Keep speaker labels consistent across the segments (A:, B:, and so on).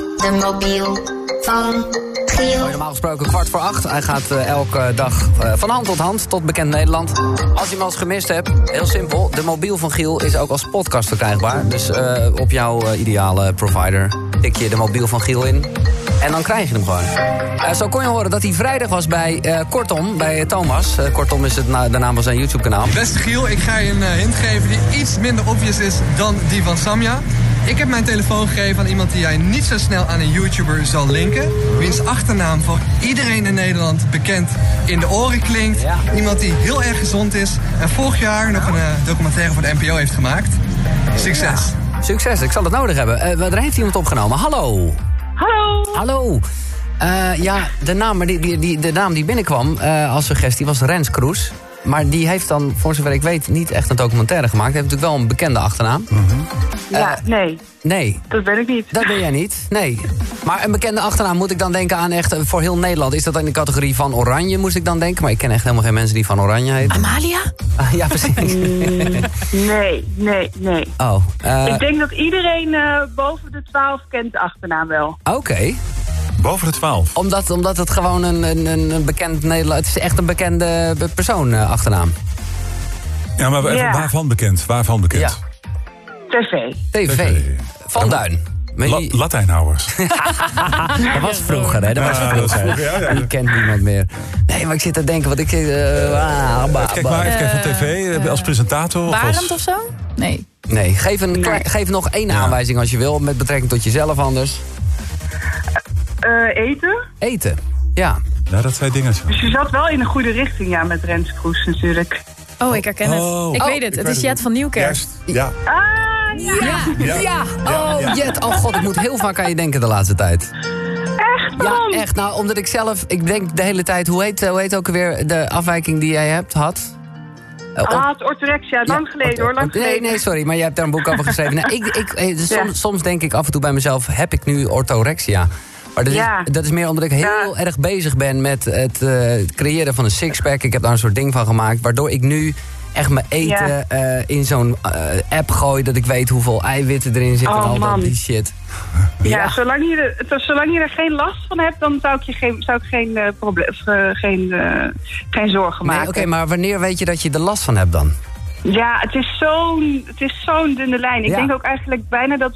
A: de mobiel van Giel.
B: Normaal gesproken kwart voor acht. Hij gaat eh, elke dag eh, van hand tot hand tot bekend Nederland. Als je hem al eens gemist hebt, heel simpel. De mobiel van Giel is ook als podcast verkrijgbaar. Dus eh, op jouw eh, ideale provider tik je de mobiel van Giel in. En dan krijg je hem gewoon. Eh, zo kon je horen dat hij vrijdag was bij eh, Kortom, bij Thomas. Eh, Kortom is het na- de naam van zijn YouTube-kanaal.
C: Beste Giel, ik ga je een eh, hint geven die iets minder obvious is dan die van Samja. Ik heb mijn telefoon gegeven aan iemand die jij niet zo snel aan een YouTuber zal linken. Wiens achternaam voor iedereen in Nederland bekend in de oren klinkt.
B: Ja.
C: Iemand die heel erg gezond is en vorig jaar nog een eh, documentaire voor de NPO heeft gemaakt. Succes!
B: Succes, ik zal het nodig hebben. Eh, daar heeft iemand opgenomen. Hallo.
D: Hallo.
B: Hallo. Eh, ja, de naam, maar die, die, die, de naam die binnenkwam eh, als suggestie was Rens Kroes. Maar die heeft dan, voor zover ik weet, niet echt een documentaire gemaakt. Hij heeft natuurlijk wel een bekende achternaam.
D: Mhm.
B: Eh,
D: Ja, nee,
B: Nee,
D: dat ben ik niet.
B: dat ben jij niet. Nee. Maar een bekende achternaam moet ik dan denken aan echt eh, voor heel Nederland. Is dat dan in de categorie van Oranje, moest ik dan denken? Maar ik ken echt helemaal geen mensen die van Oranje heten.
E: Amalia?
B: Ah, ja, precies.
D: Nee, nee, nee.
B: Oh, eh,
D: ik denk dat iedereen eh, boven de 12 kent de achternaam wel.
B: oké.
F: Boven de 12.
B: Omdat, omdat het gewoon een, een, een een bekend Nederland... Het is echt een bekende be- persoon, eh, achternaam.
F: Ja, maar even,
D: Ja.
F: waarvan bekend? Waarvan bekend?
D: TV.
B: TV.
F: TV.
B: Van Duin. Maar
F: La-
B: die-
F: Latijnhouwers.
B: dat was vroeger, hè? Dat was
F: Ja, Ah, dat is
B: vroeger.
F: vroeger, ja, ja.
B: Die kent niemand meer. Nee, maar ik zit te denken, want ik... eh, ah, bah, bah.
F: Kijk maar even kijken van tv, eh, als presentator. Of
E: Barend of
F: als...
E: zo? Nee.
B: Nee, geef, een, kle- geef nog één aanwijzing als je wil, met betrekking tot jezelf anders.
D: Eh, eten.
B: Eten. Ja.
F: Ja, dat zijn dingen.
D: Dus je zat wel in een goede richting, ja, met Rens Kroes natuurlijk.
E: Oh, ik herken
F: Oh.
E: het. Ik
F: Oh,
E: weet het.
F: ik
E: Het
F: weet
E: is Jet van Nieuwkerk.
F: Ja.
D: Ah, ja.
B: Ja. Oh, Jet. Oh god, ik moet heel vaak aan je denken de laatste tijd.
D: Echt,
B: Ja,
D: man.
B: echt. Nou, omdat ik zelf... Ik denk de hele tijd... Hoe heet, eh, hoe heet ook weer de afwijking die jij hebt, had? Eh, op-
D: Ah, het orthorexia. Lang
B: Ja,
D: geleden,
B: oké.
D: hoor. Lang
B: nee,
D: geleden.
B: nee, sorry, maar jij hebt daar een boek over geschreven. Nou, ik, ik, eh, dus
D: Ja.
B: soms, soms denk ik af en toe bij mezelf, heb ik nu orthorexia? Maar dat,
D: Ja.
B: is, dat is meer omdat ik heel
D: Ja.
B: erg bezig ben met het eh, het creëren van een sixpack. Ik heb daar een soort ding van gemaakt, waardoor ik nu echt mijn eten
D: Ja.
B: eh, in zo'n eh, app gooi... dat ik weet hoeveel eiwitten erin zitten
D: Oh,
B: en al dat
D: man.
B: die shit.
D: Ja, Zolang, je er, het- zolang je er geen last van hebt, dan zou ik je geen, zou ik geen, eh, proble- of, eh, geen, eh, geen zorgen
B: Nee,
D: maken.
B: Oké, maar wanneer weet je dat je er last van hebt dan?
D: Ja, het is zo'n het is zo'n dunne lijn. Ik
B: Ja.
D: denk ook eigenlijk bijna dat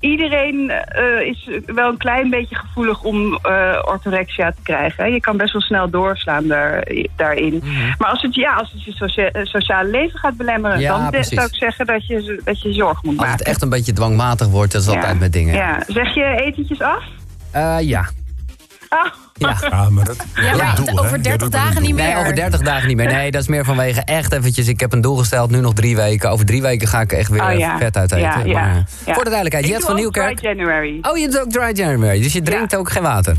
D: iedereen eh, is wel een klein beetje gevoelig om eh, orthorexia te krijgen. hè. Je kan best wel snel doorslaan daar, daarin.
B: Mhm.
D: Maar als het, ja, als het je socia- eh, sociale leven gaat belemmeren,
B: Ja,
D: dan de-
B: precies.
D: zou ik zeggen dat je, dat je zorg moet
B: Als het
D: maken.
B: echt een beetje dwangmatig wordt, dat is altijd met dingen.
D: Ja. Zeg je etentjes af?
B: Eh, ja.
D: Ah,
B: ja.
F: Ja, maar dat,
E: Ja, maar
F: doel, hè? Jij
E: over 30
F: doet ook een
E: dagen
F: doel.
E: niet meer.
B: Nee, over 30 dagen niet meer. Nee, dat is meer vanwege echt eventjes. Ik heb een doel gesteld, nu nog drie weken. Over drie weken ga ik echt weer
D: Oh,
B: eh,
D: ja.
B: vet uit eten.
D: Ja, ja,
B: Maar, eh,
D: ja.
B: Voor de duidelijkheid,
D: ik
B: Jet
D: doe
B: van
D: ook
B: Nieuwkerk.
D: Dry January.
B: Oh, je doet ook dry January, dus je drinkt ook geen water.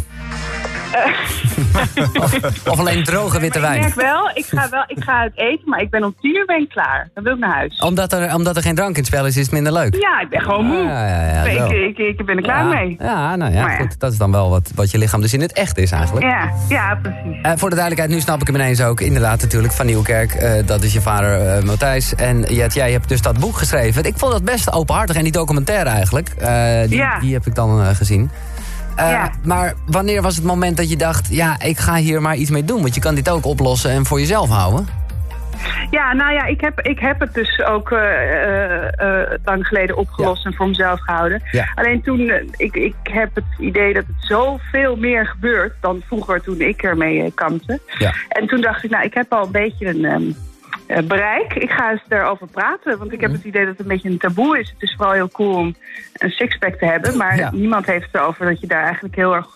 B: of, of alleen droge witte
D: Eh. Maar ik
B: wijn.
D: merk wel, ik ga wel, ik ga uit eten, maar ik ben om tien uur ben ik klaar. Dan wil ik naar huis.
B: Omdat er, omdat er geen drank in het spel is, is het minder leuk.
D: Ja, ik ben gewoon moe.
B: Ah, Ja, ja, ja,
D: ik,
B: zo.
D: ik, ik, ben er klaar
B: Ja,
D: mee.
B: Ja, nou ja,
D: Maar ja.
B: goed. Dat is dan wel wat, wat je lichaam dus in het echt is eigenlijk.
D: Ja, ja, precies.
B: Eh, voor de duidelijkheid, nu snap ik hem ineens ook. Inderdaad, natuurlijk, van Nieuwkerk. eh, dat is je vader eh, Matthijs. En Jet, jij hebt dus dat boek geschreven. Ik vond dat best openhartig en die documentaire eigenlijk. eh, die,
D: Ja.
B: die heb ik dan eh, gezien. Eh,
D: Ja.
B: Maar wanneer was het moment dat je dacht... ja, ik ga hier maar iets mee doen? Want je kan dit ook oplossen en voor jezelf houden.
D: Ja, nou ja, ik heb, ik heb het dus ook eh, eh, eh, lang geleden opgelost en voor mezelf gehouden.
B: Ja.
D: Alleen toen, eh, ik, ik heb het idee dat het zoveel meer gebeurt dan vroeger toen ik ermee eh, kampte.
B: Ja.
D: En toen dacht ik, nou, ik heb al een beetje een ehm, eh, bereik. Ik ga eens daarover praten, want ik
B: Mhm.
D: heb het idee dat het een beetje een taboe is. Het is vooral heel cool om een sixpack te hebben, maar
B: Ja.
D: niemand heeft het erover dat je daar eigenlijk heel erg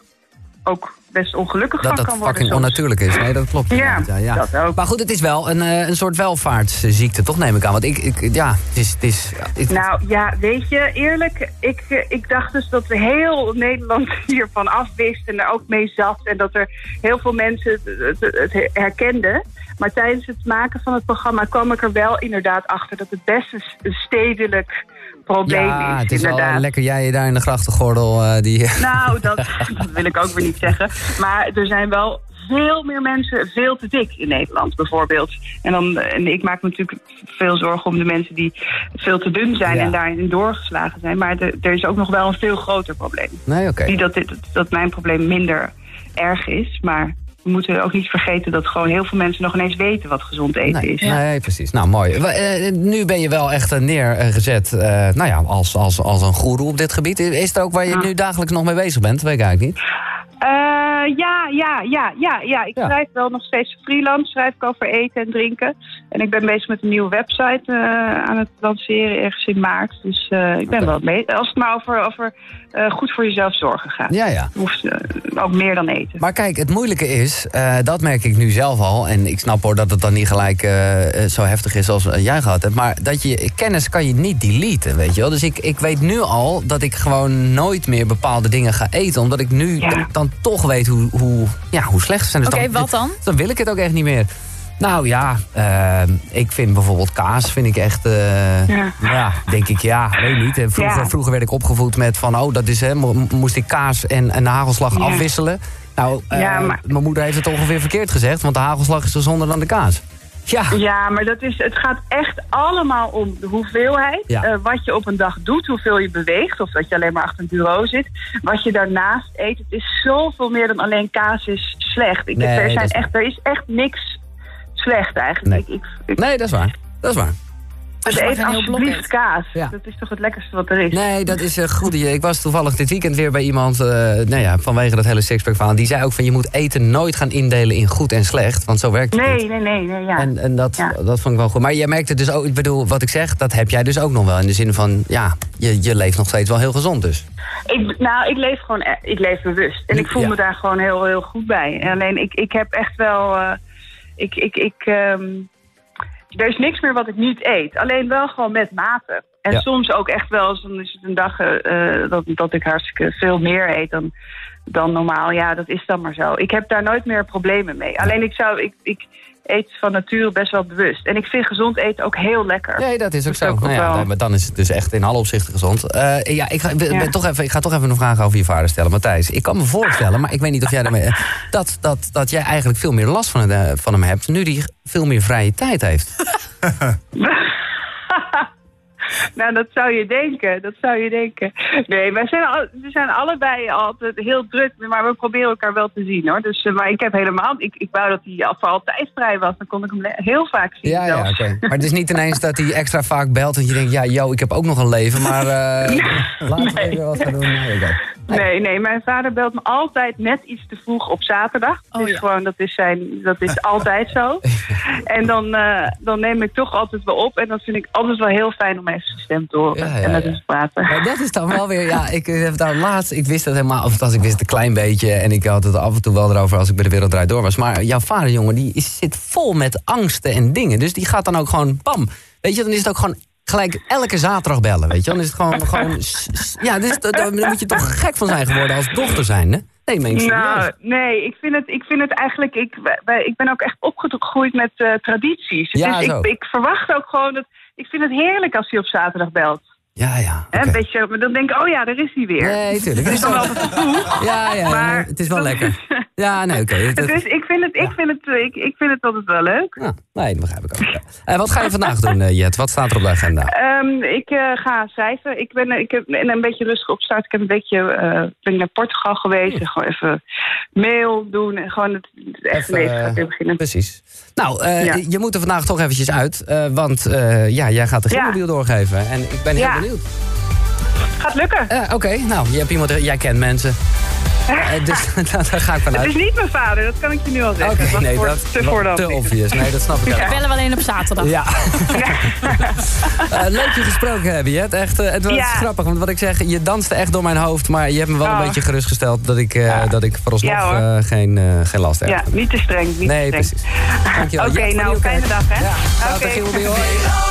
D: ook best ongelukkig
B: Dat
D: van
B: dat
D: kan worden.
B: fucking
D: soms.
B: onnatuurlijk is. Nee, dat klopt.
D: Ja,
B: inderdaad,
D: dat ook.
B: Maar goed, het is wel een, eh, een soort welvaartsziekte, toch neem ik aan? Want ik, ik ja, het is... Het is het-
D: Nou ja, weet je, eerlijk, ik, eh, ik dacht dus dat heel Nederland hiervan afwist en er ook mee zat. En dat er heel veel mensen het, het- het herkenden. Maar tijdens het maken van het programma kwam ik er wel inderdaad achter dat het best een s- een stedelijk probleem
B: ja,
D: is.
B: het is wel
D: Nou, inderdaad.
B: eh, lekker jij daar in de grachtengordel eh, die...
D: Nou, dat, dat wil ik ook weer niet zeggen. Maar er zijn wel veel meer mensen veel te dik in Nederland, bijvoorbeeld. En, dan, en ik maak me natuurlijk veel zorgen om de mensen die veel te dun zijn
B: Ja.
D: en daarin doorgeslagen zijn. Maar de- er is ook nog wel een veel groter probleem.
B: Nee, oké.
D: Niet dat, dit, dat mijn probleem minder erg is, maar we moeten ook niet vergeten dat gewoon heel veel mensen nog ineens weten wat gezond eten
B: Nee,
D: is.
B: nee, precies. Nou, mooi. Wa- eh, nu ben je wel echt eh, neergezet eh, nou ja, als, als, als een goeroe op dit gebied. Is het ook waar je nu dagelijks nog mee bezig bent? Weet ik eigenlijk niet.
D: Eh, ja, ja, ja, ja, ja. Ik
B: Ja.
D: schrijf wel nog steeds freelance. Schrijf ik over eten en drinken. En ik ben bezig met een nieuwe website eh, aan het lanceren ergens in maart. Dus eh, ik ben wel mee. Als het maar over, over eh, goed voor jezelf zorgen gaat.
B: Ja, ja.
D: Hoeft eh, ook meer dan eten.
B: Maar kijk, het moeilijke is, eh, dat merk ik nu zelf al... en ik snap hoor dat het dan niet gelijk eh, eh, zo heftig is als eh, jij gehad hebt... maar dat je kennis kan je niet deleten, weet je wel. Dus ik, ik weet nu al dat ik gewoon nooit meer bepaalde dingen ga eten... omdat ik nu
D: Ja.
B: d- dan toch weet hoe, hoe, ja, hoe slecht ze zijn. Dus
E: Oké, wat dan?
B: Dan wil ik het ook echt niet meer. Nou ja, eh, ik vind bijvoorbeeld kaas vind ik echt... eh,
D: Ja.
B: ja, denk ik, ja, weet niet. Eh, Vroeger,
D: Ja.
B: vroeger werd ik opgevoed met van, oh, dat is, hè, mo- moest ik kaas en, en hagelslag
D: Ja.
B: afwisselen. Nou, eh,
D: Ja, maar-
B: mijn moeder heeft het ongeveer verkeerd gezegd, want de hagelslag is gezonder dan de kaas. Ja,
D: Ja, maar dat is, het gaat echt allemaal om de hoeveelheid.
B: Ja.
D: eh, wat je op een dag doet, hoeveel je beweegt. Of dat je alleen maar achter een bureau zit. Wat je daarnaast eet. Het is zoveel meer dan alleen kaas is slecht. Ik,
B: Nee,
D: er,
B: dat
D: zijn
B: is-
D: echt, er is echt niks slecht eigenlijk.
B: Nee.
D: Ik, ik, ik,
B: nee, dat is waar. Dat is waar.
D: dus
E: je mag
D: eet
E: een heel blok
D: alsjeblieft
E: eten.
D: kaas.
B: Ja.
D: Dat is toch het lekkerste wat er is.
B: Nee, dat is een goed idee. Ik was toevallig dit weekend weer bij iemand, eh, nou ja, vanwege dat hele sixpack verhaal. Die zei ook van, je moet eten nooit gaan indelen in goed en slecht, want zo werkt het niet.
D: Nee, nee, nee, nee, ja.
B: En, en dat,
D: Ja.
B: dat vond ik wel goed. Maar jij merkt het dus ook, ik bedoel, wat ik zeg, dat heb jij dus ook nog wel. In de zin van, ja, je, je leeft nog steeds wel heel gezond dus.
D: Ik, nou, ik leef gewoon, e- ik leef bewust. En ik voel
B: Ja.
D: me daar gewoon heel, heel goed bij. En Alleen ik, ik heb echt wel, eh, ik, ik, ik, ehm, er is niks meer wat ik niet eet. Alleen wel gewoon met mate. En
B: Ja.
D: soms ook echt wel, eens, dan is het een dag eh, eh, dat, dat ik hartstikke veel meer eet dan, dan normaal. Ja, dat is dan maar zo. Ik heb daar nooit meer problemen mee. Alleen ik zou, ik, ik eet van nature best wel bewust. En ik vind gezond eten ook heel lekker.
B: Nee, dat is ook
D: Dat
B: zo.
D: is ook
B: Nou ja,
D: wel-
B: maar dan is het dus echt in alle opzichten gezond. Eh, ja, ik ga, ben-
D: Ja.
B: ben toch even, ik ga toch even een vraag over je vader stellen, Matthijs. Ik kan me voorstellen, maar ik weet niet of jij daarmee... Dat, dat, dat jij eigenlijk veel meer last van, het, eh, van hem hebt... nu die veel meer vrije tijd heeft.
D: Nou, dat zou je denken. Dat zou je denken. Nee, wij zijn, al- we zijn allebei altijd heel druk. Maar we proberen elkaar wel te zien hoor. Dus, eh, maar ik heb helemaal. Ik, ik wou dat hij al voor altijd vrij was. Dan kon ik hem le- heel vaak zien.
B: Ja, ja,
D: zelfs.
B: oké. Maar het is niet ineens dat hij extra vaak belt... en je denkt, ja, yo, ik heb ook nog een leven, maar... eh, laten we even wat gaan doen. Nee, oké.
D: Nee, nee, mijn vader belt me altijd net iets te vroeg op zaterdag.
E: Oh,
D: dus
E: ja.
D: gewoon, dat is, zijn, dat is altijd zo. En dan, eh, dan neem ik toch altijd wel op. En dat vind ik altijd wel heel fijn om even zijn stem te horen.
B: Ja, ja,
D: en met
B: ja.
D: hem te praten.
B: Maar dat is dan wel weer, ja, ik heb daar laatst, ik wist dat helemaal, of althans, ik wist het een klein beetje en ik had het af en toe wel erover als ik bij de wereld draait door was. Maar jouw vader, jongen, die is, zit vol met angsten en dingen. Dus die gaat dan ook gewoon, bam, weet je, dan is het ook gewoon gelijk elke zaterdag bellen, weet je. Dan is het gewoon, gewoon s- s- ja, dus, dat- daar moet je toch gek van zijn geworden als dochter zijn, hè? Nee, meen ik
D: Nou,
B: serieus.
D: nee, ik vind het, ik vind het eigenlijk. Ik, wij- wij- ik ben ook echt opgegroeid met eh, tradities.
B: Ja,
D: dus
B: zo.
D: ik, ik verwacht ook gewoon dat. Ik vind het heerlijk als hij op zaterdag belt.
B: Ja, ja,
D: Hè,
B: oké.
D: weet je, maar dan denk ik, oh ja, daar is hij weer.
B: Nee, tuurlijk. Het is
D: Dan
B: wel,
D: wel te vroeg.
B: ja, ja, ja,
D: Maar-
B: het is wel lekker. Ja, nee, oké. het- het-
D: Dus ik vind het, ik vind het, ik, ik vind het altijd wel leuk.
B: ja, Ah, nee, dat begrijp ik ook. Eh, wat ga je vandaag doen, eh, Jet? Wat staat er op de agenda?
D: Ehm, ik eh, ga schrijven. Ik ben eh, ik heb en een beetje rustig opstart. Ik heb een beetje, eh, ben naar Portugal geweest. En Gewoon even mail doen. En gewoon het, het echt
B: Even,
D: leven gaat weer
B: eh,
D: beginnen.
B: Precies. Nou, eh,
D: Ja.
B: je moet er vandaag toch eventjes uit. eh, want eh, ja, jij gaat de
D: Ja.
B: gymmobiel doorgeven. En ik ben heel
D: Ja.
B: benieuwd.
D: Gaat lukken.
B: Eh, Oké, nou, je hebt iemand, jij kent mensen. Eh, dus nou, daar ga ik
D: Het
B: vanuit.
D: is niet mijn vader, dat kan ik je nu al zeggen.
B: Oké,
D: Dat was
B: nee,
D: voor-
B: dat
D: te
B: was
D: voordat.
B: te obvious. Nee, dat snap ik
E: We
B: ook.
E: bellen alleen op zaterdag.
B: Ja. Eh, leuk je gesproken hebben, Jet. Echt, eh, het was
D: Ja.
B: grappig, want wat ik zeg, je danste echt door mijn hoofd. Maar je hebt me wel een
D: Oh.
B: beetje gerustgesteld dat ik, eh, dat ik vooralsnog
D: Ja, hoor.
B: eh, geen, eh, geen last heb.
D: Ja, niet te streng. Niet
B: nee,
D: te streng.
B: precies. Dankjewel.
D: Oké,
B: Jet van
D: nou,
B: Nieuwkerk.
D: fijne dag, hè?
B: Ja,
D: Oké.
B: Later, Gimmobiel. Hoi.